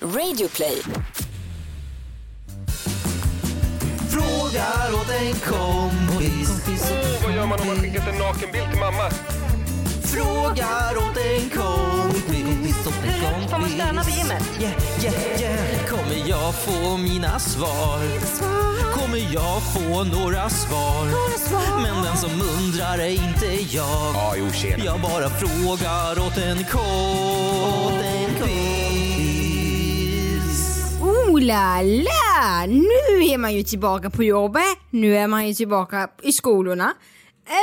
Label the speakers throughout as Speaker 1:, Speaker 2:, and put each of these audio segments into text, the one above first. Speaker 1: Radioplay.
Speaker 2: Frågar åt en kompis.
Speaker 3: Vad gör man om man skickat en nakenbild till mamma?
Speaker 2: Frågar åt en kompis.
Speaker 4: Hur högt får man stöna på gymmet?
Speaker 2: Yeah, yeah, yeah. Kommer jag få mina svar? Kommer jag få några svar? Men den som undrar är inte jag.
Speaker 3: Ja, jo tjena.
Speaker 2: Jag bara frågar åt en kompis.
Speaker 5: Oh la la! Nu är man ju tillbaka på jobbet, nu är man ju tillbaka i skolorna.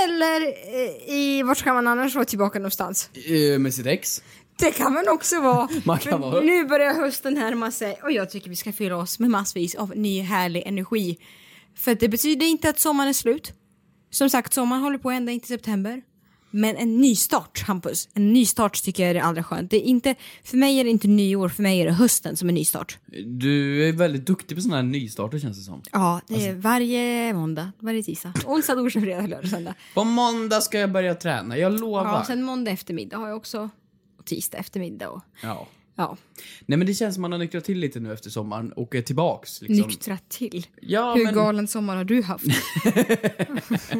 Speaker 5: Eller eh, i, vart ska man annars vara tillbaka någonstans?
Speaker 6: Eh, med sitt ex.
Speaker 5: Det kan man också vara.
Speaker 6: Man kan
Speaker 5: Men
Speaker 6: vara.
Speaker 5: Nu börjar hösten närma sig och jag tycker vi ska fylla oss med massvis av ny härlig energi. För att det betyder inte att sommaren är slut. Som sagt, sommaren håller på ända in till september. Men en nystart, Hampus. En nystart tycker jag är det allra skönt. Det är inte, för mig är det inte nyår, för mig är det hösten som är nystart.
Speaker 6: Du är väldigt duktig på sådana här nystarter känns det som.
Speaker 5: Ja, det är varje måndag, varje tisdag. Onsdag, torsdag, fredag, lördag, söndag.
Speaker 6: På måndag ska jag börja träna, jag lovar.
Speaker 5: Ja, och sen måndag eftermiddag har jag också. Och tisdag eftermiddag och
Speaker 6: Ja.
Speaker 5: ja,
Speaker 6: Nej men det känns som man har nyktrat till lite nu efter sommaren och är tillbaks. Liksom.
Speaker 5: nyktra till.
Speaker 6: Ja,
Speaker 5: Hur
Speaker 6: men,
Speaker 5: galen sommar har du haft?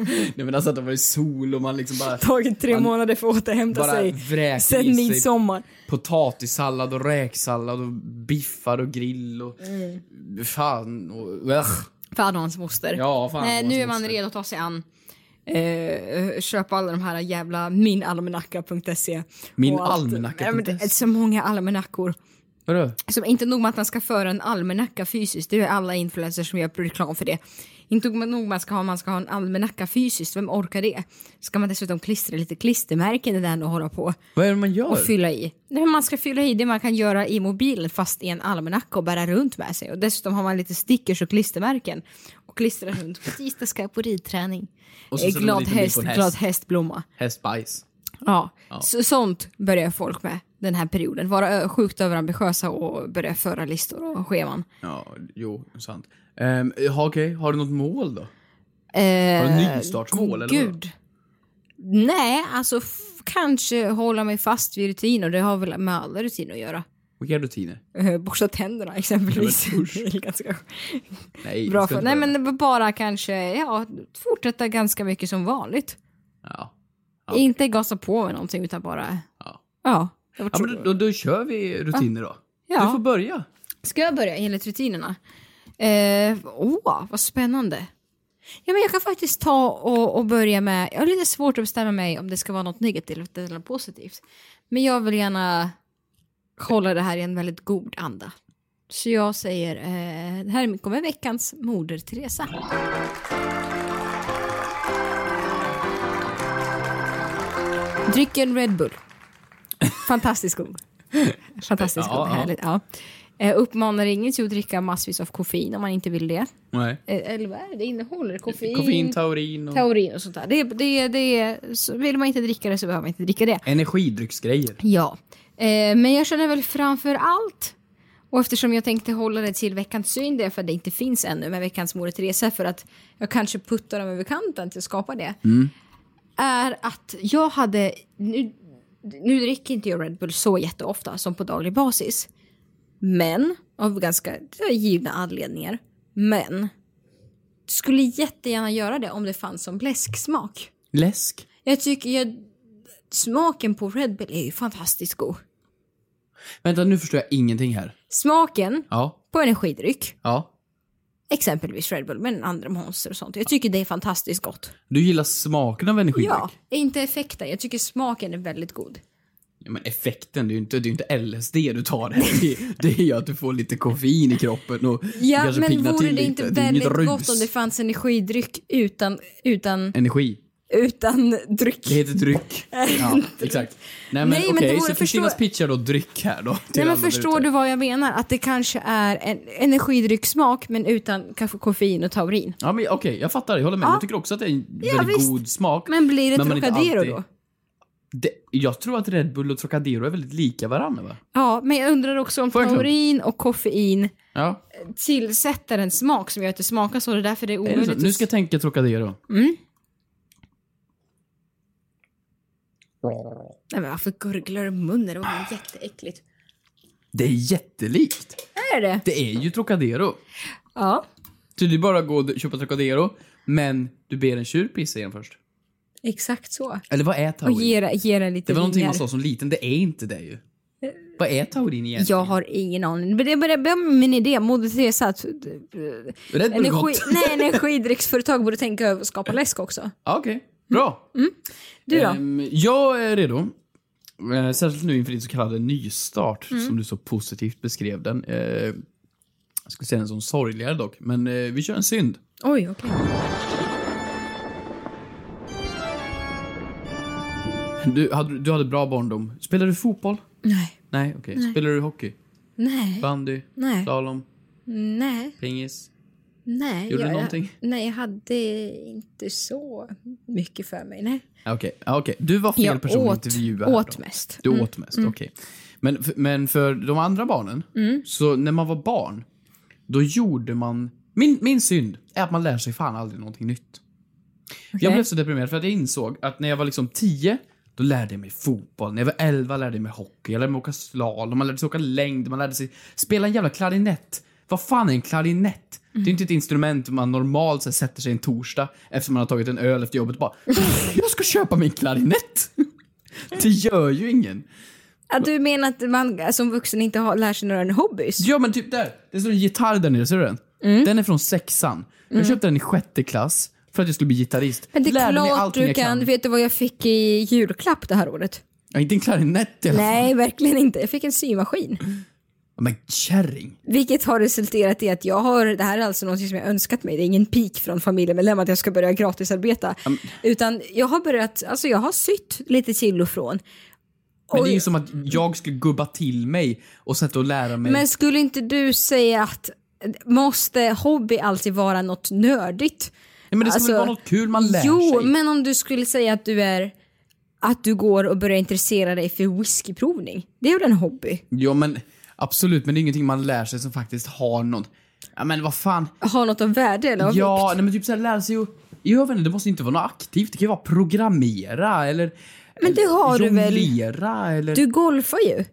Speaker 6: nej, men alltså att det har varit sol och man liksom bara...
Speaker 5: Tagit tre
Speaker 6: Man
Speaker 5: månader för att återhämta
Speaker 6: bara
Speaker 5: sig
Speaker 6: vräker i
Speaker 5: sen
Speaker 6: sig
Speaker 5: midsommar.
Speaker 6: potatissallad och räksallad och biffar och grill och...
Speaker 5: Mm.
Speaker 6: Fan och... Äh.
Speaker 5: Fan och hans moster.
Speaker 6: Ja, fan och
Speaker 5: Nej,
Speaker 6: hans
Speaker 5: nu är man
Speaker 6: moster.
Speaker 5: redo att ta sig an. Eh, köpa alla de här jävla minalmanacka.se.
Speaker 6: Min
Speaker 5: E. och allt.
Speaker 6: almanacka
Speaker 5: Nej, men det är Så många almanackor.
Speaker 6: Vadå?
Speaker 5: Som Liksom, inte nog med att man ska föra en almanacka fysiskt, det är alla influencers som gör reklam för det. Inte nog med nog man ska ha, man ska ha en almanacka fysiskt, vem orkar det? Ska man dessutom klistra lite klistermärken i den och hålla på
Speaker 6: Vad är det man gör?
Speaker 5: och fylla i? Nej, men man ska fylla i det man kan göra i mobilen fast i en almanacka och bära runt med sig. Och dessutom har man lite stickers och klistermärken och klistra runt. Precis, det ska jag på ridträning.
Speaker 6: Och så
Speaker 5: Eh,
Speaker 6: sätter man
Speaker 5: glad
Speaker 6: lite bild
Speaker 5: häst,
Speaker 6: på en häst.
Speaker 5: glad hästblomma.
Speaker 6: Hästbajs.
Speaker 5: Ja, Så, sånt börjar folk med den här perioden. Vara ö- sjukt överambitiösa och börja föra listor och scheman.
Speaker 6: Ja, jo, sant. Um, Okej, har du något mål då? Har
Speaker 5: Eh,
Speaker 6: du nystartsmål eller vadå?
Speaker 5: Gud. Nej, alltså f- kanske hålla mig fast vid rutiner. Det har väl med alla rutiner att göra.
Speaker 6: Vilka rutiner?
Speaker 5: Eh, borsta tänderna exempelvis.
Speaker 6: Ja, men usch.
Speaker 5: Det är ganska
Speaker 6: Nej,
Speaker 5: bra
Speaker 6: du
Speaker 5: för.
Speaker 6: ska inte
Speaker 5: Nej
Speaker 6: börja.
Speaker 5: men det var bara kanske, ja, fortsätta ganska mycket som vanligt.
Speaker 6: Ja.
Speaker 5: Inte gasa på med någonting utan bara,
Speaker 6: Ja.
Speaker 5: ja. Jag
Speaker 6: Ja,
Speaker 5: tror-
Speaker 6: men då, då kör vi rutiner då.
Speaker 5: Ja.
Speaker 6: Du får börja.
Speaker 5: Ska jag börja enligt rutinerna? Eh, åh, vad spännande. Ja, men jag kan faktiskt ta och, och börja med, jag har lite svårt att bestämma mig om det ska vara något negativt eller positivt. Men jag vill gärna hålla det här i en väldigt god anda. Så jag säger, eh, här kommer veckans Moder Teresa. Drick en Red Bull. Fantastisk god. Fantastisk
Speaker 6: Ja,
Speaker 5: god,
Speaker 6: ja.
Speaker 5: härligt. Ja. Eh, uppmanar ingen till att dricka massvis av koffein om man inte vill det.
Speaker 6: Nej.
Speaker 5: Eh, eller vad är det? Det innehåller koffein,
Speaker 6: Koffein, taurin och
Speaker 5: taurin och sånt där. Det, det, det, så vill man inte dricka det så behöver man inte dricka det.
Speaker 6: energidrycksgrejer.
Speaker 5: Ja, eh, men jag känner väl framför allt och eftersom jag tänkte hålla det till veckans syn, det är för att det inte finns ännu med veckans Moder Teresa, för att jag kanske puttar dem över kanten till att skapa det, är att jag hade, nu, nu dricker inte jag Red Bull så jätteofta som på daglig basis, men av ganska givna anledningar, men skulle jättegärna göra det om det fanns som läsksmak.
Speaker 6: Läsk.
Speaker 5: Jag tycker jag, smaken på Red Bull är ju fantastiskt god.
Speaker 6: Vänta, nu förstår jag ingenting här.
Speaker 5: Smaken
Speaker 6: Ja.
Speaker 5: på energidryck,
Speaker 6: Ja.
Speaker 5: exempelvis Red Bull, men andra monster och sånt. Jag tycker det är fantastiskt gott.
Speaker 6: Du gillar smaken av energidryck?
Speaker 5: Ja, inte effekten. Jag tycker smaken är väldigt god.
Speaker 6: Ja, Men effekten, det är ju inte, det är ju inte LSD du tar här. Det, det är ju att du får lite koffein i kroppen och
Speaker 5: Ja,
Speaker 6: kanske
Speaker 5: men
Speaker 6: piggnar
Speaker 5: vore
Speaker 6: till
Speaker 5: det
Speaker 6: lite.
Speaker 5: inte
Speaker 6: är inget
Speaker 5: väldigt gott
Speaker 6: rus.
Speaker 5: om det fanns energidryck utan, utan,
Speaker 6: Energi.
Speaker 5: utan dryck?
Speaker 6: Det heter dryck. Ja, exakt. Nej men
Speaker 5: Nej,
Speaker 6: okej,
Speaker 5: men det vore-
Speaker 6: så
Speaker 5: förstå-
Speaker 6: Kristinas pitchar då dryck här då. till
Speaker 5: Nej, men
Speaker 6: alla där
Speaker 5: förstår
Speaker 6: ute.
Speaker 5: du vad jag menar? Att det kanske är en energidrycksmak men utan kanske koffein och taurin.
Speaker 6: Ja men okej, jag fattar. Jag håller med. Jag tycker också att det är en
Speaker 5: Ja,
Speaker 6: väldigt
Speaker 5: visst.
Speaker 6: god smak.
Speaker 5: Men blir det
Speaker 6: man är inte
Speaker 5: Trocadero
Speaker 6: alltid-
Speaker 5: då?
Speaker 6: Det, jag tror att Red Bull och Trocadero är väldigt lika varandra va?
Speaker 5: Ja, men jag undrar också om
Speaker 6: Får jag en klunk?
Speaker 5: taurin och koffein
Speaker 6: Ja.
Speaker 5: tillsätter en smak som gör att det smakar så. Det är därför det är
Speaker 6: Är det
Speaker 5: omöjligt.
Speaker 6: så?
Speaker 5: att-
Speaker 6: Nu ska jag tänka Trocadero.
Speaker 5: Nej men varför gurglar du i munnen? Det var jätteäckligt.
Speaker 6: Det är jättelikt.
Speaker 5: Är det
Speaker 6: Det är ju Trocadero.
Speaker 5: Ja,
Speaker 6: Så det är bara att gå och köpa Trocadero, men du ber en tjur pissa igen först.
Speaker 5: exakt så.
Speaker 6: Eller vad är
Speaker 5: Och
Speaker 6: taurin?
Speaker 5: ge, det- ge det lite
Speaker 6: det var någonting man
Speaker 5: vingar.
Speaker 6: sa som liten, det är inte det ju. Vad är taurin egentligen?
Speaker 5: Jag har ingen aning. Men det börjar börja med min idé. Moder Teresa, att, eh,
Speaker 6: Är det Energi...
Speaker 5: energi,
Speaker 6: gott?
Speaker 5: nej, energidrycksföretag borde tänka över att skapa läsk också.
Speaker 6: Ja, Okej, bra.
Speaker 5: Du då?
Speaker 6: Ehm, jag är redo. Eh, Särskilt nu inför din så kallade nystart,
Speaker 5: Mm.
Speaker 6: som du så positivt beskrev den. Eh, Jag skulle säga en sån sorgligare dock, men eh, vi kör en synd.
Speaker 5: Oj, okej.
Speaker 6: Du hade, du hade bra barndom. Spelade du fotboll?
Speaker 5: Nej.
Speaker 6: Nej, okej. Spelade du hockey?
Speaker 5: Nej.
Speaker 6: Bandy?
Speaker 5: Nej.
Speaker 6: Slalom?
Speaker 5: Nej.
Speaker 6: Pingis?
Speaker 5: Nej.
Speaker 6: Gjorde du
Speaker 5: jag,
Speaker 6: någonting?
Speaker 5: Nej, jag hade inte så mycket för mig. Nej.
Speaker 6: Ja, Okej, okay. du var fel
Speaker 5: Jag
Speaker 6: person
Speaker 5: åt,
Speaker 6: att intervjua. här
Speaker 5: åt
Speaker 6: då.
Speaker 5: mest.
Speaker 6: Du åt mest, okej. Men, f- men för de andra barnen, så när man var barn, då gjorde man... Min, min synd är att man lär sig fan aldrig någonting nytt. Jag blev så deprimerad för att jag insåg att när jag var liksom 10, då lärde jag mig fotboll. När jag var 11 lärde jag mig hockey, jag lärde mig åka slalom, man lärde sig åka längd, man lärde sig spela en jävla klarinett. Vad fan är en klarinett? Det är inte ett instrument man normalt så här, sätter sig en torsdag efter man har tagit en öl efter jobbet och bara “Jag ska köpa min klarinett!” Det gör ju ingen.
Speaker 5: Ja, du menar att man som vuxen inte har, lär sig några hobbys?
Speaker 6: Ja men typ där! Det står en gitarr där nere, ser du den?
Speaker 5: Mm.
Speaker 6: Den är från sexan. Jag köpte den i sjätte klass för att jag skulle bli gitarrist.
Speaker 5: Men det är
Speaker 6: Lärde mig
Speaker 5: klart
Speaker 6: allting
Speaker 5: du
Speaker 6: jag
Speaker 5: kan. Vet du vad jag fick i julklapp det här året?
Speaker 6: Ja, inte en klarinett i alla fall.
Speaker 5: Nej, verkligen inte. Jag fick en symaskin.
Speaker 6: Men kärring!
Speaker 5: Vilket har resulterat i att jag har, det här är alltså något som jag önskat mig, det är ingen pik från familjemedlem att jag ska börja gratisarbeta. Utan jag har börjat, alltså jag har sytt lite till och från.
Speaker 6: Men det är
Speaker 5: Oj.
Speaker 6: ju som att jag skulle gubba till mig och sätta och lära mig.
Speaker 5: Men skulle inte du säga att måste hobby alltid vara något nördigt?
Speaker 6: Nej, men det ska
Speaker 5: alltså-
Speaker 6: väl vara något kul man lär
Speaker 5: Jo,
Speaker 6: sig?
Speaker 5: men om du skulle säga att du är att du går och börjar intressera dig för whiskyprovning. Det är väl en hobby?
Speaker 6: Jo, men absolut. Men det är ingenting man lär sig som faktiskt har något. Ja, men vad fan.
Speaker 5: Har något av värde eller av
Speaker 6: Ja,
Speaker 5: vikt?
Speaker 6: nej, men typ såhär lära sig att... Jag vet inte, det måste inte vara något aktivt. Det kan ju vara programmera eller...
Speaker 5: Men det har du väl?
Speaker 6: jonglera, eller...
Speaker 5: Du golfar ju.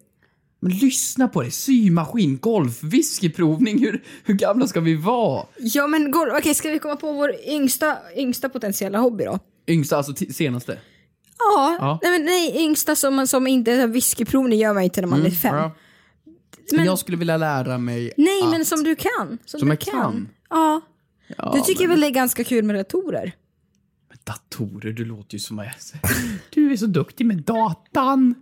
Speaker 6: Men lyssna på det! Symaskin, golf, whiskyprovning. Hur, hur gamla ska vi vara?
Speaker 5: Ja men golf, okej ska vi komma på vår yngsta, yngsta potentiella hobby då?
Speaker 6: Yngsta, alltså t- senaste.
Speaker 5: Ja,
Speaker 6: Ja.
Speaker 5: Nej, men nej yngsta som, som inte, whiskyprovning gör man inte när man är fem.
Speaker 6: Mm, Ja.
Speaker 5: Men-
Speaker 6: jag skulle vilja lära mig
Speaker 5: Nej
Speaker 6: att...
Speaker 5: men som du kan. Som,
Speaker 6: Som
Speaker 5: du
Speaker 6: jag kan?
Speaker 5: Ja.
Speaker 6: Ja,
Speaker 5: Du tycker
Speaker 6: men-
Speaker 5: väl det är ganska kul med datorer?
Speaker 6: Datorer, du låter ju som jag Du är så duktig med datan.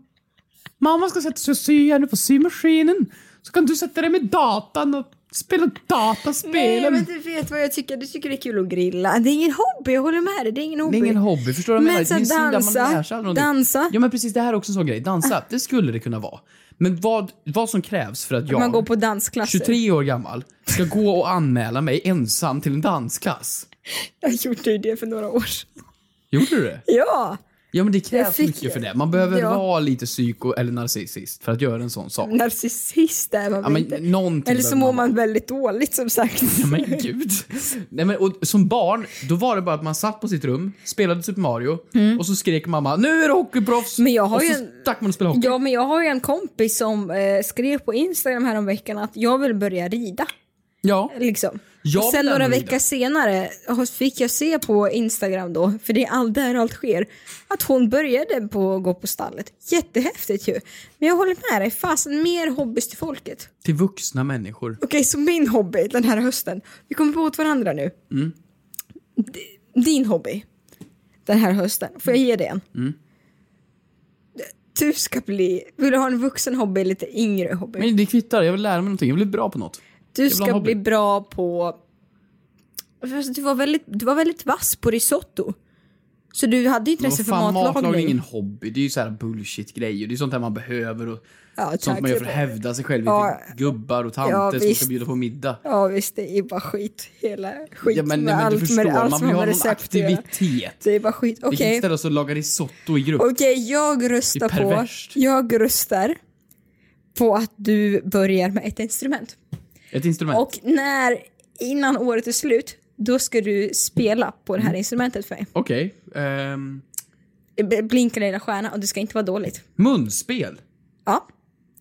Speaker 6: Mamma ska sätta sig och sy här nu på symaskinen. Så kan du sätta dig med datan och spela
Speaker 5: Nej
Speaker 6: dataspelen.
Speaker 5: men du vet vad jag tycker, du tycker det är kul att grilla. Det är ingen hobby, jag håller med dig, det är ingen
Speaker 6: det
Speaker 5: hobby.
Speaker 6: är ingen hobby, förstår du vad jag
Speaker 5: Men
Speaker 6: menar?
Speaker 5: så
Speaker 6: Det är en sida
Speaker 5: dansa,
Speaker 6: man lär sig aldrig någonting.
Speaker 5: dansa. Ah.
Speaker 6: Ja men precis, det här är också en sån grej. Dansa, det skulle det kunna vara. Men vad, vad som krävs för att jag,
Speaker 5: Man går på dansklasser.
Speaker 6: 23 år gammal, ska gå och anmäla mig ensam till en dansklass.
Speaker 5: Jag gjorde ju det för några år sedan.
Speaker 6: Gjorde du det?
Speaker 5: Ja!
Speaker 6: Ja men det krävs
Speaker 5: fick
Speaker 6: mycket
Speaker 5: det.
Speaker 6: för det. Man behöver
Speaker 5: Ja.
Speaker 6: vara lite psyko eller narcissist för att göra en sån sak.
Speaker 5: Narcissist är man
Speaker 6: Ja,
Speaker 5: väl
Speaker 6: men
Speaker 5: inte.
Speaker 6: någonting
Speaker 5: Eller så
Speaker 6: behöver
Speaker 5: mår
Speaker 6: man
Speaker 5: man väldigt dåligt som sagt.
Speaker 6: Ja, men gud. Nej, men, och, som barn, då var det bara att man satt på sitt rum, spelade Super Mario och så skrek mamma “Nu är du hockeyproffs!”
Speaker 5: Mm. Men jag har
Speaker 6: och
Speaker 5: ju
Speaker 6: så
Speaker 5: en-
Speaker 6: stack man och spelade hockey.
Speaker 5: Ja, men jag har ju en kompis som eh, skrev på Instagram häromveckan att jag vill börja rida.
Speaker 6: Ja.
Speaker 5: Liksom.
Speaker 6: Jag
Speaker 5: Och sen
Speaker 6: vill ändå
Speaker 5: några
Speaker 6: rida.
Speaker 5: veckor senare fick jag se på Instagram då, för det är all, där allt sker, att hon började på att gå på stallet. Jättehäftigt ju. Men jag håller med dig, fasen mer hobbys till folket.
Speaker 6: Till vuxna människor.
Speaker 5: Okej, så min hobby den här hösten, vi kommer på åt varandra nu. D- Din hobby den här hösten, får jag ge dig en? Du ska bli, vill du ha en vuxen hobby, lite yngre hobby?
Speaker 6: Men det kvittar, jag vill lära mig någonting, jag vill bli bra på något.
Speaker 5: Du
Speaker 6: vill ha en
Speaker 5: ska
Speaker 6: hobby.
Speaker 5: bli bra på... Fast Du var, väldigt, du var väldigt vass på risotto. Så du hade
Speaker 6: Men
Speaker 5: intresse
Speaker 6: vad
Speaker 5: för
Speaker 6: fan,
Speaker 5: matlagning.
Speaker 6: matlagning är ingen hobby, det är ju så här bullshit-grejer. Det är sånt här man behöver och
Speaker 5: Ja,
Speaker 6: sånt man gör för att
Speaker 5: tack.
Speaker 6: hävda sig själv.
Speaker 5: Ja.
Speaker 6: Gubbar och tanter
Speaker 5: Ja,
Speaker 6: som
Speaker 5: visst.
Speaker 6: ska bjuda på middag.
Speaker 5: Ja visst, det är bara skit. Hela skit
Speaker 6: Ja, men,
Speaker 5: med
Speaker 6: nej, men du
Speaker 5: allt
Speaker 6: förstår,
Speaker 5: med allt
Speaker 6: man
Speaker 5: som
Speaker 6: vill
Speaker 5: har
Speaker 6: ha
Speaker 5: med
Speaker 6: någon
Speaker 5: recept att göra.
Speaker 6: aktivitet.
Speaker 5: Det är bara skit.
Speaker 6: Vi kan
Speaker 5: Okej,
Speaker 6: inte ställa oss och laga risotto i grupp.
Speaker 5: okej, jag
Speaker 6: Det är
Speaker 5: röstar på...
Speaker 6: perverst.
Speaker 5: Jag röstar på att du börjar med ett instrument.
Speaker 6: Ett instrument.
Speaker 5: Och när, innan året är slut, då ska du spela på det här
Speaker 6: Mm.
Speaker 5: instrumentet för mig.
Speaker 6: Okej. ehm,
Speaker 5: Blinka lilla stjärna och det ska inte vara dåligt.
Speaker 6: munspel.
Speaker 5: Ja.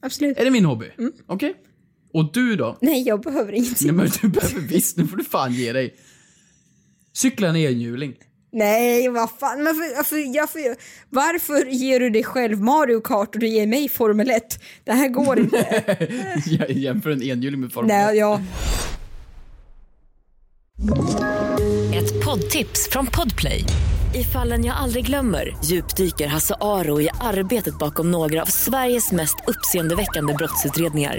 Speaker 5: Absolut.
Speaker 6: Är det min hobby?
Speaker 5: Mm.
Speaker 6: Okej. Och du då?
Speaker 5: Nej, jag behöver ingenting.
Speaker 6: Nej men du behöver visst, nu får du fan ge dig. Cykla en enhjuling.
Speaker 5: Nej, vad fan. Men för, för, jag, för, varför ger du dig själv Mario Kart och du ger mig Formel 1? Det här går inte.
Speaker 6: Jag jämför en enhjuling med Formel
Speaker 5: Nej, ja.
Speaker 1: Ett poddtips från Podplay. I fallen jag aldrig glömmer djupdyker Hasse Aro i arbetet bakom några av Sveriges mest uppseendeväckande brottsutredningar.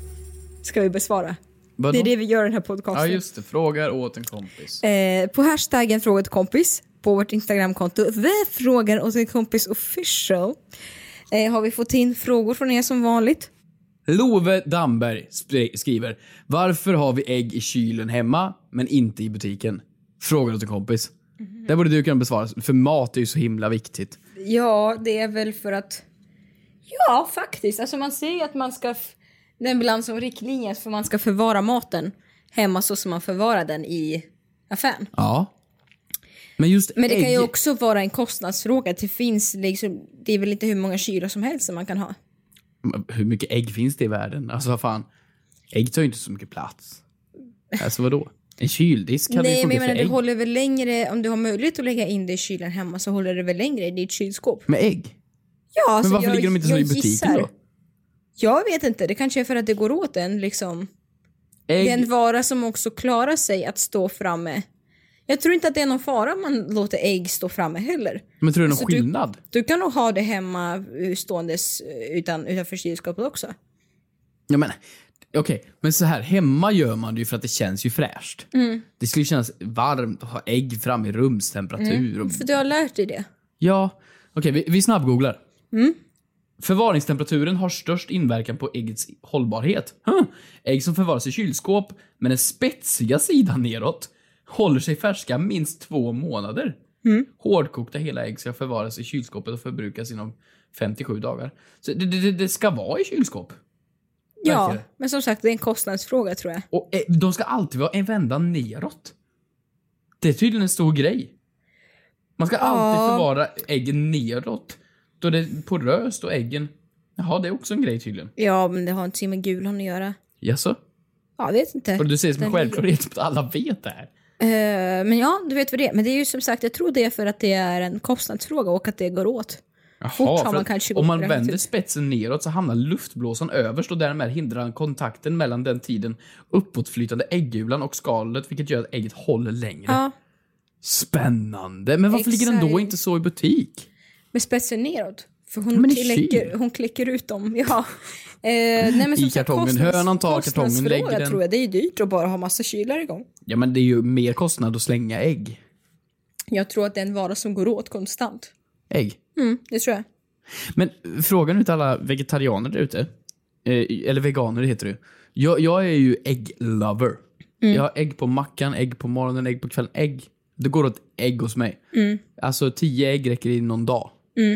Speaker 5: ska vi besvara.
Speaker 6: Vadå?
Speaker 5: Det är det vi gör i den här podcasten.
Speaker 6: Ja just det, frågar åt en kompis.
Speaker 5: eh, på hashtaggen fråga till kompis på vårt Instagramkonto. Vi frågar åt en kompis official. Eh, har vi fått in frågor från er som vanligt?
Speaker 6: Love Damberg spri- skriver. Varför har vi ägg i kylen hemma men inte i butiken? Frågar åt en kompis.
Speaker 5: Mhm.
Speaker 6: Det borde du kunna besvara, för mat är ju så himla viktigt.
Speaker 5: Ja, det är väl för att... Ja, faktiskt. Alltså man säger ju att man ska... F... Den ibland som alltså riktlinje för man ska förvara maten hemma så som man förvarar den i affären.
Speaker 6: Ja. Men just
Speaker 5: Men det kan ju
Speaker 6: ägg-
Speaker 5: också vara en kostnadsfråga. Det finns liksom, det är väl inte hur många kylar som helst som man kan ha.
Speaker 6: Hur mycket ägg finns det i världen? Alltså vad fan. Ägg tar ju inte så mycket plats. Alltså vadå? En kyldisk kan
Speaker 5: Nej,
Speaker 6: ju
Speaker 5: men
Speaker 6: funka
Speaker 5: jag
Speaker 6: för
Speaker 5: menar, det
Speaker 6: ägg.
Speaker 5: håller väl längre, om du har möjlighet att lägga in det i kylen hemma så håller det väl längre i ditt kylskåp.
Speaker 6: Med ägg?
Speaker 5: Ja, alltså,
Speaker 6: men varför ligger de inte så i butiken då?
Speaker 5: Jag vet inte, det kanske är för att det går åt en liksom.
Speaker 6: Ägg?
Speaker 5: Det är en vara som också klarar sig att stå framme. Jag tror inte att det är någon fara om man låter ägg stå framme heller.
Speaker 6: Men tror du det är någon
Speaker 5: Alltså, du-
Speaker 6: skillnad?
Speaker 5: Du kan nog ha det hemma eh, ståendes eh, utan, utanför kylskåpet också.
Speaker 6: Ja, men, okej, men så här, hemma gör man det ju för att det känns ju fräscht.
Speaker 5: Mm.
Speaker 6: Det skulle kännas varmt att ha ägg fram i rumstemperatur. Och,
Speaker 5: Mm. För du har lärt dig det.
Speaker 6: ja, okej, vi, vi snabbgooglar.
Speaker 5: Mm.
Speaker 6: Förvaringstemperaturen har störst inverkan på äggets hållbarhet. Huh. Ägg som förvaras i kylskåp med den spetsiga sidan neråt håller sig färska minst två månader.
Speaker 5: Mm.
Speaker 6: Hårdkokta hela ägg ska förvaras i kylskåpet och förbrukas inom 57 dagar. Så det, det, det- det ska vara i kylskåp.
Speaker 5: Ja,
Speaker 6: Verkligen.
Speaker 5: men som sagt det är en kostnadsfråga tror jag.
Speaker 6: Och eh, de ska alltid vara en vända neråt. Det är tydligen en stor grej. Man ska alltid förvara äggen neråt. Då det är poröst och äggen... Jaha, det är också en grej tydligen.
Speaker 5: Ja, men det har inte så med gulan att göra.
Speaker 6: Jaså?
Speaker 5: Ja, jag vet inte.
Speaker 6: Och du säger som en
Speaker 5: Eh, Den ligger-
Speaker 6: självklarhet att alla vet det här?
Speaker 5: Eh, men ja, du vet vad det är. Men det är ju som sagt, jag tror det är för att det är en kostnadsfråga och att det går åt. Fort har
Speaker 6: för
Speaker 5: man
Speaker 6: att
Speaker 5: kanske
Speaker 6: om
Speaker 5: gått
Speaker 6: man
Speaker 5: rätt
Speaker 6: vänder
Speaker 5: ut.
Speaker 6: spetsen neråt så hamnar luftblåsan överst och därmed hindrar han kontakten mellan den tiden uppåtflytande äggulan och skalet vilket gör att ägget håller längre.
Speaker 5: Ja,
Speaker 6: Spännande! Men varför ligger den då
Speaker 5: Exciting.
Speaker 6: inte så i butik?
Speaker 5: med spetsen neråt. För hon,
Speaker 6: Men i
Speaker 5: kläcker,
Speaker 6: kyl.
Speaker 5: hon kläcker ut dem. Ja. Eh, nej, men som
Speaker 6: I
Speaker 5: sagt,
Speaker 6: kartongen.
Speaker 5: kostnads-
Speaker 6: Hönan tar kartongen,
Speaker 5: kostnadsfråga
Speaker 6: lägger den-
Speaker 5: tror jag. Det är ju dyrt att bara ha massa kylar igång.
Speaker 6: Ja men det är ju mer kostnad att slänga ägg.
Speaker 5: Jag tror att det är en vara som går åt konstant.
Speaker 6: Ägg.
Speaker 5: Mm, det tror jag.
Speaker 6: Men frågan ut till alla vegetarianer där ute. Eh, eller veganer heter det ju. jag, jag är ju ägglover.
Speaker 5: Mm.
Speaker 6: Jag har ägg på mackan, ägg på morgonen, ägg på kvällen. Ägg. Det går åt ägg hos mig.
Speaker 5: Mm.
Speaker 6: Alltså tio ägg räcker i någon dag.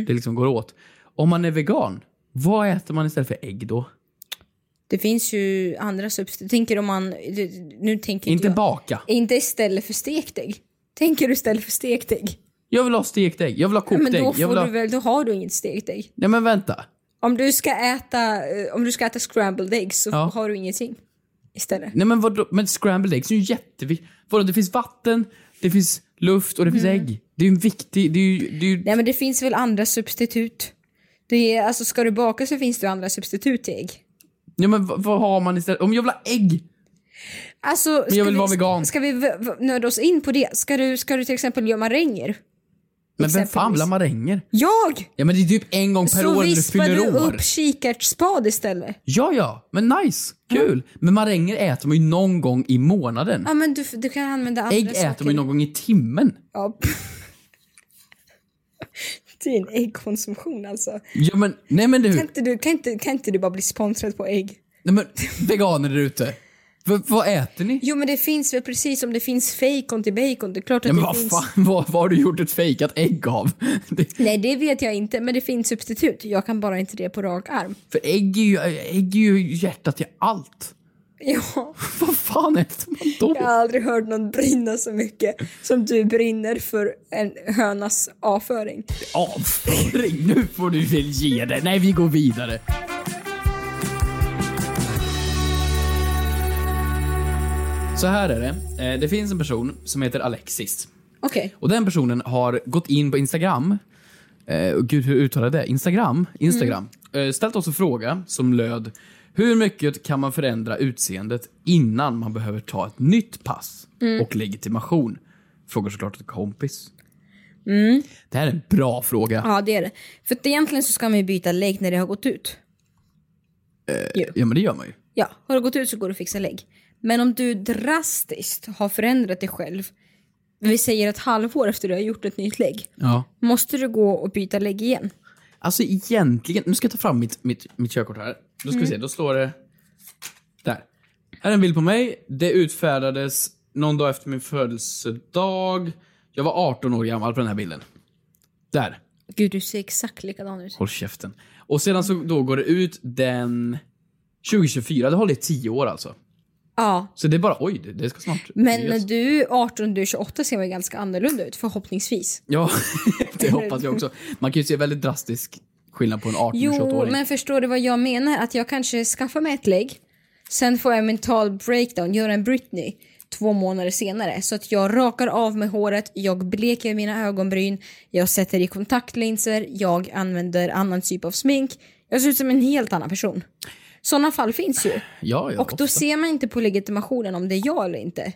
Speaker 6: Det liksom går åt. Om man är vegan, vad äter man istället för ägg då?
Speaker 5: Det finns ju andra substitut. Tänker om man... Nu tänker
Speaker 6: Inte
Speaker 5: jag.
Speaker 6: baka.
Speaker 5: Inte istället för stekt ägg. Tänker du istället för stekt ägg?
Speaker 6: Jag vill ha stekt ägg, jag vill ha kokt
Speaker 5: Men då,
Speaker 6: ägg. Jag
Speaker 5: får
Speaker 6: vill ha...
Speaker 5: du väl, då har du inget stekt ägg.
Speaker 6: Nej men vänta.
Speaker 5: Om du ska äta, eh, om du ska äta scrambled eggs så
Speaker 6: Ja.
Speaker 5: har du ingenting istället.
Speaker 6: Nej men vadå? Men scrambled eggs är ju jätteviktigt. Vadå, det finns vatten, det finns luft och det finns ägg. Det är ju en viktig... Det är ju, det är ju
Speaker 5: Mm. Nej men det finns väl andra substitut. Det är, alltså ska du baka så finns det ju andra substitut till ägg.
Speaker 6: Ja, men vad, vad har man istället? Om jag vill ha ägg?
Speaker 5: Alltså, men
Speaker 6: vill vara vegan.
Speaker 5: Ska vi v- v- nöda oss in på det? Ska du, ska du till exempel göra maränger?
Speaker 6: Men vem fan vill ha
Speaker 5: Exempelvis.
Speaker 6: maränger?
Speaker 5: Jag!
Speaker 6: Ja, men det är typ en gång per
Speaker 5: så
Speaker 6: år när du
Speaker 5: vispar
Speaker 6: fyller
Speaker 5: du
Speaker 6: år.
Speaker 5: upp kikärtsspad istället.
Speaker 6: Ja, ja, men nice. Kul. Men maränger äter man ju någon gång i månaden.
Speaker 5: Ja men du, du kan använda andra
Speaker 6: Ägg
Speaker 5: saker.
Speaker 6: äter man ju någon gång i timmen.
Speaker 5: Ja. din äggkonsumtion alltså.
Speaker 6: Ja, men, nej men
Speaker 5: Kan
Speaker 6: du,
Speaker 5: inte du, kan inte, kan inte du bara bli sponsrad på ägg?
Speaker 6: nej, men, veganer där ute. V- vad äter ni?
Speaker 5: Jo men det finns väl precis som det finns fejkon till bacon, det är klart att
Speaker 6: Ja, men
Speaker 5: det
Speaker 6: vad
Speaker 5: finns.
Speaker 6: fan, vad, vad har du gjort ett fejkat ägg av? Det,
Speaker 5: Nej det vet jag inte, men det finns substitut. Jag kan bara inte det på rak arm.
Speaker 6: för ägg är, ju, ägg är ju hjärtat till allt.
Speaker 5: Ja,
Speaker 6: Vad fan äter man då?
Speaker 5: jag har aldrig hört någon brinna så mycket som du brinner för en hönas avföring.
Speaker 6: Avföring, nu får du väl ge dig. Nej, vi går vidare. Så här är det. Eh, Det finns en person som heter Alexis.
Speaker 5: Okej.
Speaker 6: Och den personen har gått in på Instagram. Eh, och gud, hur uttalar jag det? Instagram? Instagram. Eh, ställt oss en fråga som löd Hur mycket kan man förändra utseendet innan man behöver ta ett nytt pass och legitimation? Frågar såklart en kompis. Det här är en bra fråga.
Speaker 5: Ja det är det. För att egentligen så ska man ju byta lägg när det har gått ut.
Speaker 6: Ja, men det gör man ju.
Speaker 5: Ja, har det gått ut så går det att fixa lägg. Men om du drastiskt har förändrat dig själv, vi säger ett halvår efter du har gjort ett nytt lägg,
Speaker 6: Ja.
Speaker 5: måste du gå och byta lägg igen?
Speaker 6: Alltså egentligen, nu ska jag ta fram mitt, mitt, mitt körkort här. Då ska vi
Speaker 5: Mm.
Speaker 6: se, då står det... Där. Här är en bild på mig. Det utfärdades någon dag efter min födelsedag. Jag var 18 år gammal på den här bilden. Där.
Speaker 5: Gud, du ser exakt likadan ut.
Speaker 6: Håll käften. Och sedan så då går det ut den 2024. Det håller i 10 år alltså.
Speaker 5: Ja,
Speaker 6: Så det är bara, oj, det, det ska snart...
Speaker 5: men
Speaker 6: Yes.
Speaker 5: när du är 18 och du är 28 ser man ju ganska annorlunda ut, förhoppningsvis.
Speaker 6: Ja, det hoppas jag också. Man kan ju se väldigt drastisk skillnad på en 18 och 28
Speaker 5: Jo,
Speaker 6: åring
Speaker 5: men förstår du vad jag menar? Att jag kanske skaffar mig ett lägg, sen får jag en mental breakdown, gör en Britney två månader senare. Så att jag rakar av mig håret, jag bleker mina ögonbryn, jag sätter i kontaktlinser, jag använder annan typ av smink. Jag ser ut som en helt annan person. Sådana fall finns ju.
Speaker 6: Ja, ja,
Speaker 5: Och då
Speaker 6: ofta.
Speaker 5: ser man inte på legitimationen om det är jag eller inte.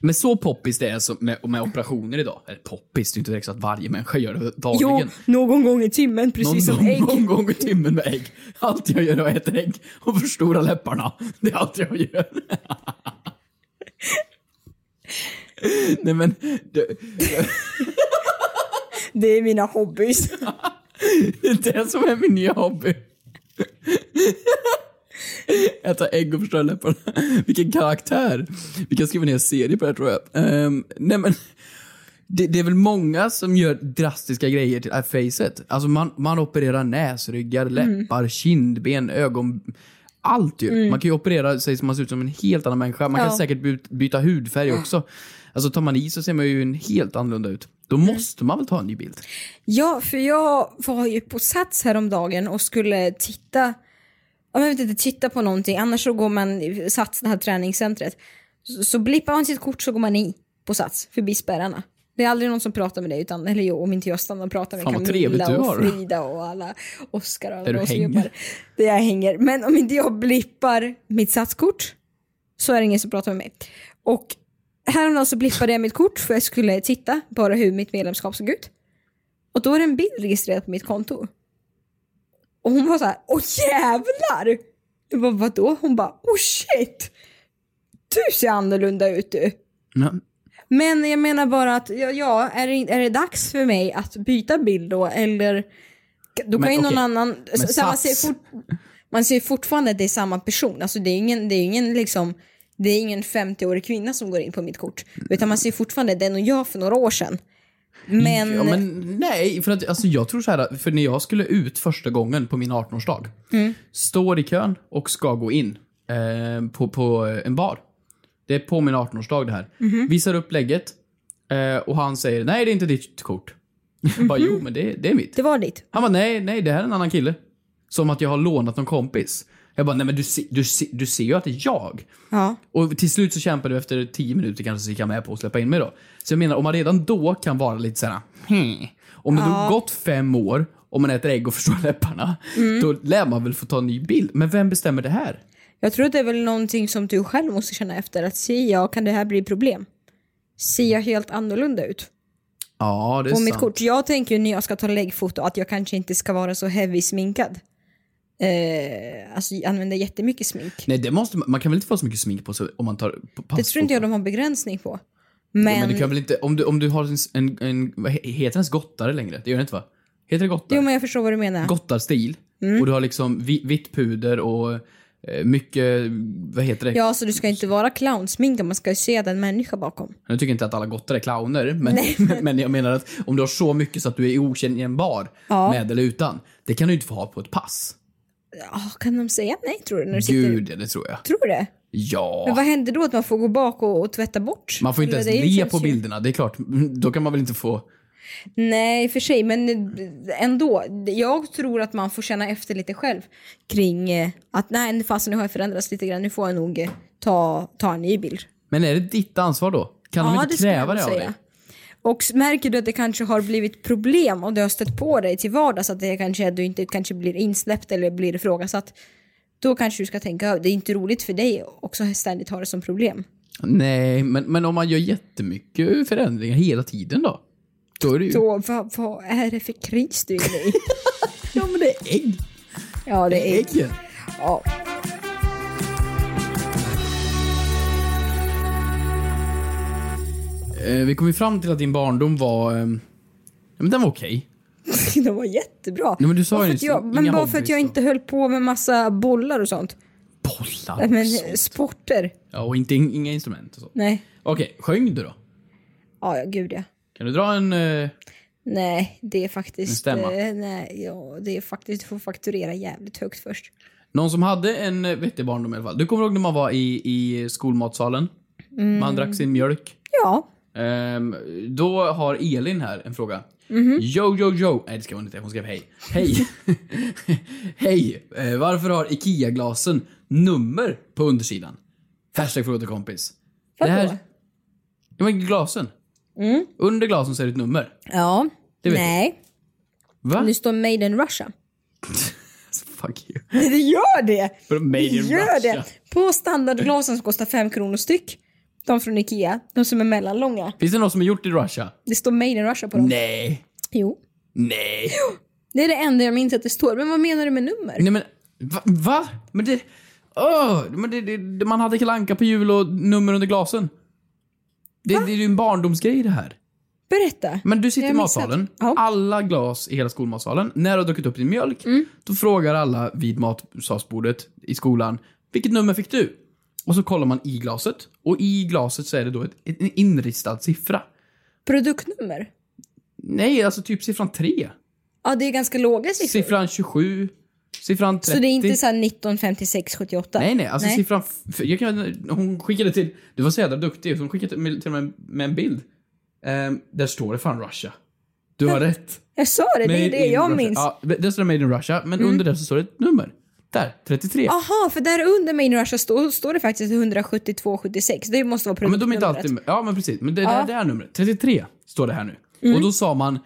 Speaker 6: Men så poppis det är som med, med operationer idag. Eller poppis, det är ju inte direkt så att varje människa gör det dagligen.
Speaker 5: någon gång i timmen, precis
Speaker 6: någon, någon gång i timmen med ägg. Allt jag gör är att äta ägg och förstora läpparna. Det är allt jag gör. Nej men, det,
Speaker 5: Det är mina hobbys.
Speaker 6: det är det som är min nya hobby. Äta ägg och förstöra läpparna. Vilken karaktär! Vi kan skriva ner en serie på det här, tror jag. Ehm, nej men, det, det är väl många som gör drastiska grejer till äh, facet. Alltså man, man opererar näsryggar,
Speaker 5: Mm.
Speaker 6: läppar, kindben, ögon. Allt ju. Man kan ju operera sig så man ser ut som en helt annan människa. Man kan
Speaker 5: Ja.
Speaker 6: säkert byt, byta hudfärg också. Alltså tar man i så ser man ju en helt annorlunda ut. Då
Speaker 5: Mm.
Speaker 6: måste man väl ta en ny bild?
Speaker 5: Ja, för jag var ju på Sats häromdagen och skulle titta, ja, men jag vet inte, titta på någonting, annars så går man, i Sats, det här träningscentret, så, så blippar man sitt kort så går man i på Sats, förbi spärrarna. Det är aldrig någon som pratar med dig, utan, eller jo, om inte jag stannar och pratar med
Speaker 6: Fan, vad trevligt
Speaker 5: Camilla
Speaker 6: du
Speaker 5: och
Speaker 6: har.
Speaker 5: Frida och alla Oskar och alla
Speaker 6: Där du
Speaker 5: de som
Speaker 6: hänger.
Speaker 5: jobbar. Där jag hänger. Men om inte jag blippar mitt Satskort så är det ingen som pratar med mig. Och häromdagen så blippade jag mitt kort för jag skulle titta bara hur mitt medlemskap såg ut. Och då är det en bild registrerad på mitt konto. Och hon var så här, åh jävlar! Jag bara, vadå? Hon bara, oh shit! Du ser annorlunda ut du.
Speaker 6: Nej.
Speaker 5: Men jag menar bara att, ja, ja är, det, är det dags för mig att byta bild då eller? Då kan
Speaker 6: Men
Speaker 5: ju någon
Speaker 6: okej.
Speaker 5: annan,
Speaker 6: Men
Speaker 5: så man,
Speaker 6: Sats-
Speaker 5: ser fort, man ser fortfarande att det är samma person. Alltså det är ingen, det är ingen liksom, det är ingen 50-årig kvinna som går in på mitt kort. Utan man ser fortfarande den och jag för några år sedan. Men,
Speaker 6: Mm, Ja, men nej, för att alltså, jag tror så här, för när jag skulle ut första gången på min 18-årsdag, står i kön och ska gå in eh, på, på en bar. Det är på min 18-årsdag det här. Visar upp lägget eh, och han säger nej, det är inte ditt kort. Jag bara, jo, men det, det är mitt.
Speaker 5: det var ditt.
Speaker 6: Han bara, nej, nej, det här är en annan kille. Som att jag har lånat någon kompis. Jag bara, nej men du, se, du, se, du ser ju att det är jag.
Speaker 5: Ja.
Speaker 6: Och till slut så kämpade du efter 10 minuter kanske så gick jag med på att släppa in mig då. Så jag menar, om man redan då kan vara lite såhär, hmm. Om det då gått fem år, om man äter ägg och förstår läpparna,
Speaker 5: Mm.
Speaker 6: då lär man väl få ta en ny bild. Men vem bestämmer det här?
Speaker 5: Jag tror att det är väl någonting som du själv måste känna efter. Att se jag kan det här bli problem? Ser jag helt annorlunda ut?
Speaker 6: Ja, det är
Speaker 5: På
Speaker 6: sant.
Speaker 5: mitt kort. Jag tänker ju när jag ska ta läggfoto att jag kanske inte ska vara så heavy sminkad. Eh, alltså använda jättemycket smink.
Speaker 6: Nej, det måste man, man kan väl inte få så mycket smink på sig om man tar på pass?
Speaker 5: Det tror inte jag de har begränsning på. Men,
Speaker 6: Men du kan väl inte, om du, om du har en, en, en vad he- heter det ens gottare längre? Det gör det inte va? Heter det Gottar?
Speaker 5: Jo, men jag förstår vad du menar.
Speaker 6: Gottarstil.
Speaker 5: Mm.
Speaker 6: Och du har liksom vi, vitt puder och eh, mycket, vad heter det?
Speaker 5: Ja, så du ska inte vara clownsminkad, man ska ju se den människa bakom.
Speaker 6: Nu tycker jag inte att alla gottar är clowner, men, men jag menar att om du har så mycket så att du är oigenkännbar
Speaker 5: Ja.
Speaker 6: med eller utan, det kan du inte få ha på ett pass.
Speaker 5: Ja, kan de säga nej tror du? När du sitter...
Speaker 6: Gud, ja, det tror jag.
Speaker 5: Tror du det? Men
Speaker 6: Ja.
Speaker 5: vad händer då? Att man får gå bak och, och tvätta bort?
Speaker 6: Man får inte
Speaker 5: Eller
Speaker 6: ens
Speaker 5: det
Speaker 6: le
Speaker 5: känns
Speaker 6: på
Speaker 5: ju-
Speaker 6: bilderna, det är klart. Då kan man väl inte få...
Speaker 5: Nej, för sig, men eh, ändå. Jag tror att man får känna efter lite själv kring eh, att nej, nu fasen nu har jag förändrats lite grann. Nu får jag nog eh, ta, ta en ny bild.
Speaker 6: Men är det ditt ansvar då? Kan de inte
Speaker 5: skulle
Speaker 6: kräva
Speaker 5: jag
Speaker 6: det av
Speaker 5: säga.
Speaker 6: dig?
Speaker 5: Och s- märker du att det kanske har blivit problem och du har stött på dig till vardags att det kanske, du inte kanske blir insläppt eller blir ifrågasatt. Då kanske du ska tänka, det är inte roligt för dig att också ständigt ha det som problem.
Speaker 6: Nej, men, men om man gör jättemycket förändringar hela tiden då? Då är det ju...
Speaker 5: Då, vad, vad är det för kris du är inne i?
Speaker 6: Ja, men det är ägg.
Speaker 5: Ja, det är...
Speaker 6: Äggen.
Speaker 5: Ja.
Speaker 6: Eh, vi kom ju fram till att din barndom var... Eh, ja, men den var okej.
Speaker 5: De var jättebra.
Speaker 6: Nej, men du sa
Speaker 5: bara
Speaker 6: ju
Speaker 5: för
Speaker 6: nyss,
Speaker 5: att jag,
Speaker 6: inga
Speaker 5: men bara för att
Speaker 6: hobbys
Speaker 5: jag
Speaker 6: då.
Speaker 5: inte höll på med massa bollar och sånt.
Speaker 6: Bollar
Speaker 5: Nej, Men
Speaker 6: också.
Speaker 5: sporter.
Speaker 6: Ja, och inte, inga instrument och så.
Speaker 5: Nej.
Speaker 6: Okej, sjöng du då?
Speaker 5: Ja, ja, gud ja.
Speaker 6: Kan du dra en... eh,
Speaker 5: Nej, det är faktiskt...
Speaker 6: stämma.
Speaker 5: eh, nej, ja, det är faktiskt... Du får fakturera jävligt högt först.
Speaker 6: någon som hade en eh, vettig barndom i alla fall. Du kommer ihåg när man var i, i skolmatsalen?
Speaker 5: Mm.
Speaker 6: Man drack sin mjölk.
Speaker 5: Ja.
Speaker 6: Ehm, då har Elin här en fråga.
Speaker 5: Mhm.
Speaker 6: Jo, jo, jo. Nej, det ska hon inte. Hon skrev hej. Hej. hej. Eh, varför har IKEA-glasen nummer på undersidan? Hashtag fråga till kompis.
Speaker 5: Vadå? Mm.
Speaker 6: Ja, men glasen. Under glasen så är det ett nummer.
Speaker 5: Ja.
Speaker 6: Det vet
Speaker 5: Nej.
Speaker 6: Va?
Speaker 5: Nu står Made in Russia.
Speaker 6: Fuck you.
Speaker 5: Det gör det!
Speaker 6: Made
Speaker 5: Det
Speaker 6: in
Speaker 5: gör
Speaker 6: Russia.
Speaker 5: det! På standardglasen som kostar 5 kronor styck. De från Ikea. De som är mellanlånga.
Speaker 6: Finns det något som är gjort i Russia?
Speaker 5: Det står Made in Russia på dem.
Speaker 6: Nej.
Speaker 5: Jo.
Speaker 6: Nej.
Speaker 5: Det är det enda jag minns att det står. Men vad menar du med nummer?
Speaker 6: Nej men, va? va? Men det... Åh! men det, det, det- man hade kalanka på jul och nummer under glasen. Det, det är ju en barndomsgrej det här.
Speaker 5: Berätta.
Speaker 6: Men du sitter i
Speaker 5: Jag har missat.
Speaker 6: matsalen,
Speaker 5: Ja.
Speaker 6: alla glas i hela skolmatsalen. När du har druckit upp din mjölk,
Speaker 5: Mm.
Speaker 6: då frågar alla vid matsalsbordet i skolan, vilket nummer fick du? Och så kollar man i glaset, och i glaset så är det då ett, en inristad siffra.
Speaker 5: Produktnummer?
Speaker 6: Nej, alltså typ siffran 3.
Speaker 5: Ja, det är ganska låga siffror.
Speaker 6: Siffran 27, siffran 30.
Speaker 5: Så det är inte så här 19, 56, 78?
Speaker 6: Nej, nej. Alltså siffran... f- Jag kan, hon skickade till... Du var så jävla duktig. så Hon skickade till till och med, med en bild. Ehm, där står det fan Russia. Du har rätt.
Speaker 5: Jag sa det, det är
Speaker 6: Made
Speaker 5: det
Speaker 6: in
Speaker 5: jag
Speaker 6: Russia.
Speaker 5: minns. Mm.
Speaker 6: Ja, där står det Made in Russia, men under det så står det ett nummer. Där, 33.
Speaker 5: Aha, för där under Main Russia står, står det faktiskt 172, 76. Det måste vara
Speaker 6: ja, men de är
Speaker 5: produktnumret.
Speaker 6: inte alltid... Ja, men precis. Men det, det,
Speaker 5: Ah.
Speaker 6: här, det här numret. 33 står det här nu.
Speaker 5: Mm.
Speaker 6: Och då sa man...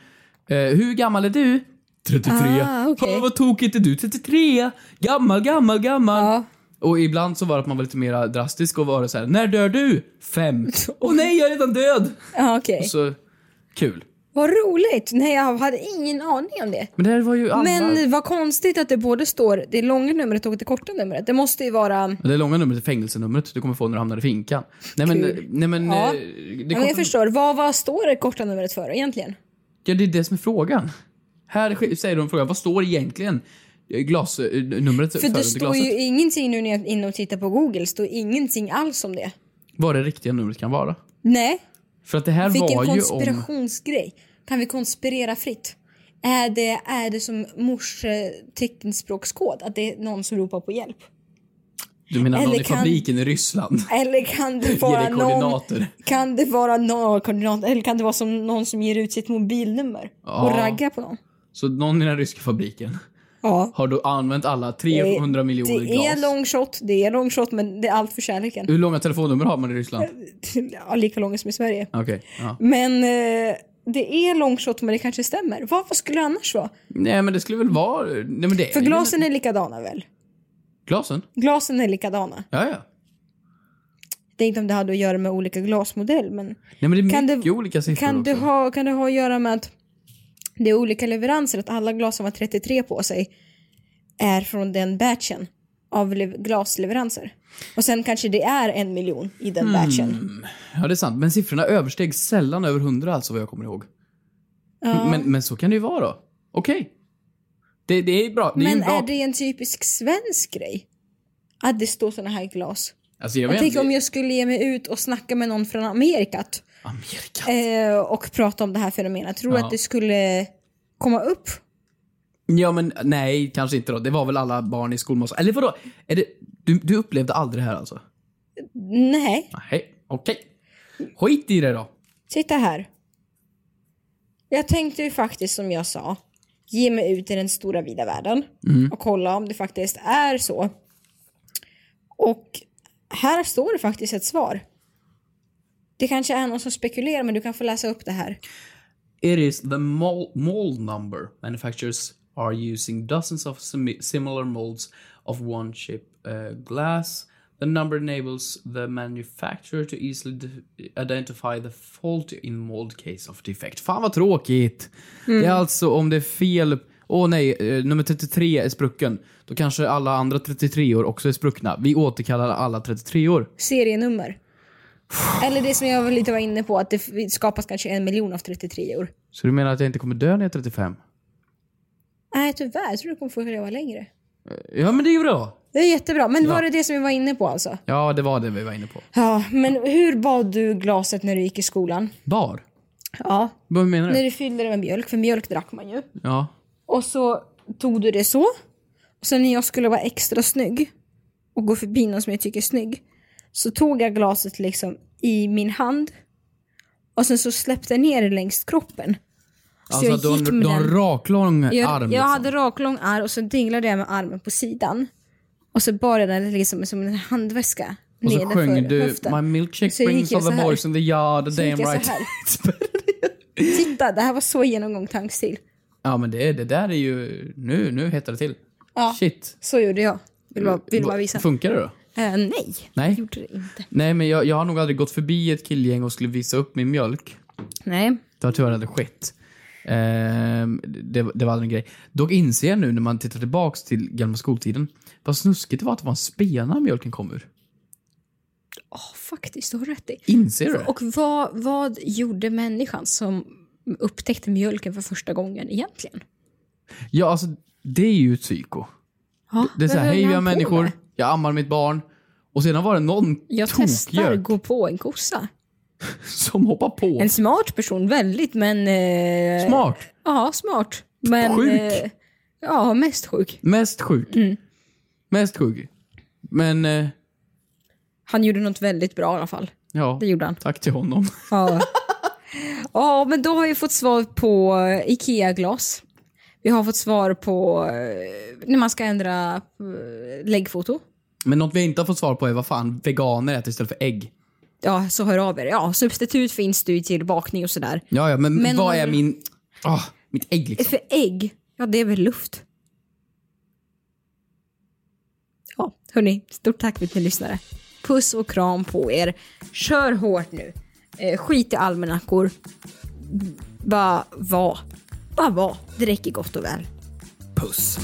Speaker 6: Eh, hur gammal är du? 33.
Speaker 5: Ah, okej.
Speaker 6: "Åh, vad tokigt är du? 33! Gammal, gammal, gammal.
Speaker 5: Ja.
Speaker 6: Och ibland så var det att man var lite mer drastisk och var det så här: när dör du? Fem. Åh nej, jag är redan död!
Speaker 5: Ja, okej.
Speaker 6: Så, kul.
Speaker 5: Vad roligt! Nej, jag hade ingen aning om det.
Speaker 6: Men det här var ju alla...
Speaker 5: Men vad konstigt att det både står det långa numret och det korta numret. Det måste ju vara...
Speaker 6: Det långa numret är fängelsenumret du kommer få när du hamnar i finkan. Nej men,
Speaker 5: Kul.
Speaker 6: nej men...
Speaker 5: Ja.
Speaker 6: eh, Det,
Speaker 5: Ja, men jag
Speaker 6: kostar-
Speaker 5: förstår. Vad, vad står det korta numret för egentligen?
Speaker 6: ja, det är det som är frågan. Här sk- säger de frågan, vad står egentligen eh, glas, eh, numret
Speaker 5: För det
Speaker 6: under
Speaker 5: står
Speaker 6: glaset?
Speaker 5: ju ingenting nu när jag är inne och tittar på Google. står ingenting alls om det.
Speaker 6: Vad det riktiga numret kan vara.
Speaker 5: Nej,
Speaker 6: För att det här
Speaker 5: Vilken
Speaker 6: var ju om...
Speaker 5: konspirationsgrej. Kan vi konspirera fritt? Är det, är det som mors eh, teckenspråkskod? Att det är någon som ropar på hjälp?
Speaker 6: Du menar någon
Speaker 5: Eller
Speaker 6: i
Speaker 5: kan-
Speaker 6: fabriken i Ryssland?
Speaker 5: Eller kan det
Speaker 6: Ge
Speaker 5: vara
Speaker 6: dig
Speaker 5: någon...
Speaker 6: koordinater.
Speaker 5: Kan det vara någon koordinat? Eller kan det vara som någon som ger ut sitt mobilnummer? Och
Speaker 6: Ja.
Speaker 5: raggar på någon?
Speaker 6: Så någon i den ryska fabriken
Speaker 5: Ja.
Speaker 6: har då använt alla 300 miljoner
Speaker 5: Eh, Det är
Speaker 6: glas.
Speaker 5: long shot, det är long shot men det är allt för kärleken.
Speaker 6: Hur långa telefonnummer har man i Ryssland?
Speaker 5: Eh, Ja, lika långa som i Sverige.
Speaker 6: Okej. ja.
Speaker 5: Men eh, det är long shot men det kanske stämmer. Vad, vad skulle det annars vara?
Speaker 6: Nej men det skulle väl vara... Nej men det
Speaker 5: För
Speaker 6: är ju-
Speaker 5: glasen är likadana väl?
Speaker 6: Glasen?
Speaker 5: Glasen är likadana.
Speaker 6: Ja, ja.
Speaker 5: Det är inte om det hade att göra med olika glasmodell men
Speaker 6: Nej men det är
Speaker 5: Kan
Speaker 6: mycket
Speaker 5: det-
Speaker 6: olika siffror
Speaker 5: kan det,
Speaker 6: också.
Speaker 5: ha, kan det ha att göra med att det är olika leveranser, att alla glas som har 33 på sig är från den batchen av le- glasleveranser. Och sen kanske det är en miljon i
Speaker 6: Hmm.
Speaker 5: den batchen.
Speaker 6: Ja det är sant, men siffrorna översteg sällan över 100 alltså vad jag kommer ihåg. Men, men så kan det ju vara då. Okej. Det, det är bra. Det är ju
Speaker 5: Men
Speaker 6: en bra...
Speaker 5: är det en typisk svensk grej? Att det står såna här glas.
Speaker 6: Alltså, jag
Speaker 5: Jag
Speaker 6: vet
Speaker 5: tänker
Speaker 6: inte.
Speaker 5: om jag skulle ge mig ut och snacka med någon från Amerikat
Speaker 6: Amerika.
Speaker 5: eh, och prata om det här fenomenet. Tror du
Speaker 6: Ja.
Speaker 5: att det skulle komma upp?
Speaker 6: Ja, men nej, kanske inte då. Det var väl alla barn i skolmålsar. Eller vadå? Är det... du, du upplevde aldrig det här alltså?
Speaker 5: Nej,
Speaker 6: Nej, okej. Skit i det då.
Speaker 5: titta här. Jag tänkte ju faktiskt som jag sa, ge mig ut i den stora vida världen och kolla om det faktiskt är så. Och här står det faktiskt ett svar. Det kanske är någon som spekulerar men du kan få läsa upp det här.
Speaker 6: It is the mol- mold number. Manufacturers are using dozens of simi- similar molds of one chip uh, glass. The number enables the manufacturer to easily d- identify the fault in mold case of defect. Fan vad tråkigt! Det är alltså om det är fel... Åh nej, eh, nummer 33 är sprucken. Då kanske alla andra 33 år också är spruckna. Vi återkallar alla 33 år.
Speaker 5: serienummer. Eller det som jag väl lite var inne på, att det f- skapas kanske en miljon av 33 år.
Speaker 6: Så du menar att jag inte kommer dö när jag är 35?
Speaker 5: Nej tyvärr, jag tror du kommer få leva längre.
Speaker 6: Ja, men det är ju bra!
Speaker 5: Det är jättebra, men var
Speaker 6: Ja.
Speaker 5: det det som vi var inne på alltså?
Speaker 6: Ja, det var det vi var inne på.
Speaker 5: Ja, men hur bad du glaset när du gick i skolan?
Speaker 6: Bar?
Speaker 5: Ja,
Speaker 6: Vad menar
Speaker 5: när
Speaker 6: du?
Speaker 5: du fyllde det med mjölk, för mjölk drack man ju.
Speaker 6: Ja.
Speaker 5: Och så tog du det så. Och sen när jag skulle vara extra snygg och gå förbi någon som jag tycker är snygg så tog jag glaset liksom i min hand och sen så släppte jag ner det längs kroppen. Så
Speaker 6: Alltså
Speaker 5: jag
Speaker 6: du har,
Speaker 5: gick
Speaker 6: en-
Speaker 5: med
Speaker 6: du har en
Speaker 5: den.
Speaker 6: raklång
Speaker 5: Jag,
Speaker 6: arm
Speaker 5: jag
Speaker 6: liksom.
Speaker 5: hade raklång arm och så dinglade jag med armen på sidan. Och så bar jag den liksom som en handväska.
Speaker 6: Och så
Speaker 5: nedanför
Speaker 6: sjöng du
Speaker 5: höften.
Speaker 6: My milkshake
Speaker 5: Så gick
Speaker 6: brings
Speaker 5: jag
Speaker 6: all the
Speaker 5: så här.
Speaker 6: boys in the yard,
Speaker 5: Så gick
Speaker 6: damn
Speaker 5: jag
Speaker 6: right.
Speaker 5: så här. Titta, det här var så genomgång tankstil.
Speaker 6: ja men det, det där är ju, nu, nu hettar det till.
Speaker 5: Ja.
Speaker 6: Shit.
Speaker 5: Så gjorde jag. Vill bara, vill bara visa.
Speaker 6: Funkar det då?
Speaker 5: Eh, nej,
Speaker 6: Nej.
Speaker 5: det gjorde det inte.
Speaker 6: Nej men jag, jag har nog aldrig gått förbi ett killgäng och skulle visa upp min mjölk.
Speaker 5: Nej.
Speaker 6: Det har tyvärr aldrig skett. Ehm, det, det var aldrig en grej. Dock inser jag nu när man tittar tillbaks till gamla skoltiden vad snuskigt det var att det var en spena mjölken kom ur.
Speaker 5: Oh, faktiskt, du har rätt i.
Speaker 6: Inser du det?
Speaker 5: Och vad, vad gjorde människan som upptäckte mjölken för första gången egentligen?
Speaker 6: Ja, alltså det är ju ett psyko.
Speaker 5: Ja,
Speaker 6: Det
Speaker 5: men
Speaker 6: är såhär,
Speaker 5: vad
Speaker 6: hej
Speaker 5: höll
Speaker 6: vi är
Speaker 5: han på
Speaker 6: människor,
Speaker 5: med?
Speaker 6: jag ammar mitt barn. Och sedan var det någon
Speaker 5: Jag testar
Speaker 6: tokgök
Speaker 5: gå på en kossa.
Speaker 6: som hoppar på.
Speaker 5: En smart person, väldigt, men... Eh,
Speaker 6: Smart.
Speaker 5: Ja, smart. Men,
Speaker 6: Sjuk.
Speaker 5: eh, ja, mest sjuk.
Speaker 6: Mest sjuk.
Speaker 5: Mm.
Speaker 6: Mest sjuk. Men, eh,
Speaker 5: Han gjorde något väldigt bra i alla fall.
Speaker 6: ja.
Speaker 5: Det gjorde han.
Speaker 6: Tack till honom.
Speaker 5: Ja, ja men då har vi fått svar på eh, IKEA-glas. Vi har fått svar på eh, när man ska ändra eh, läggfoto.
Speaker 6: Men något vi inte har fått svar på är vad fan veganer äter istället för ägg.
Speaker 5: Ja, så hör av er. Ja, substitut finns det ju till bakning och sådär.
Speaker 6: Ja, ja, men,
Speaker 5: Men
Speaker 6: vad
Speaker 5: man-
Speaker 6: är min... ah mitt ägg liksom.
Speaker 5: För ägg, ja det är väl luft. Ja, hörni, stort tack för att ni lyssnade. Puss och kram på er. Kör hårt nu. Eh, skit i almanackor. Bara var. Bara var. Det räcker gott och väl.
Speaker 6: Puss.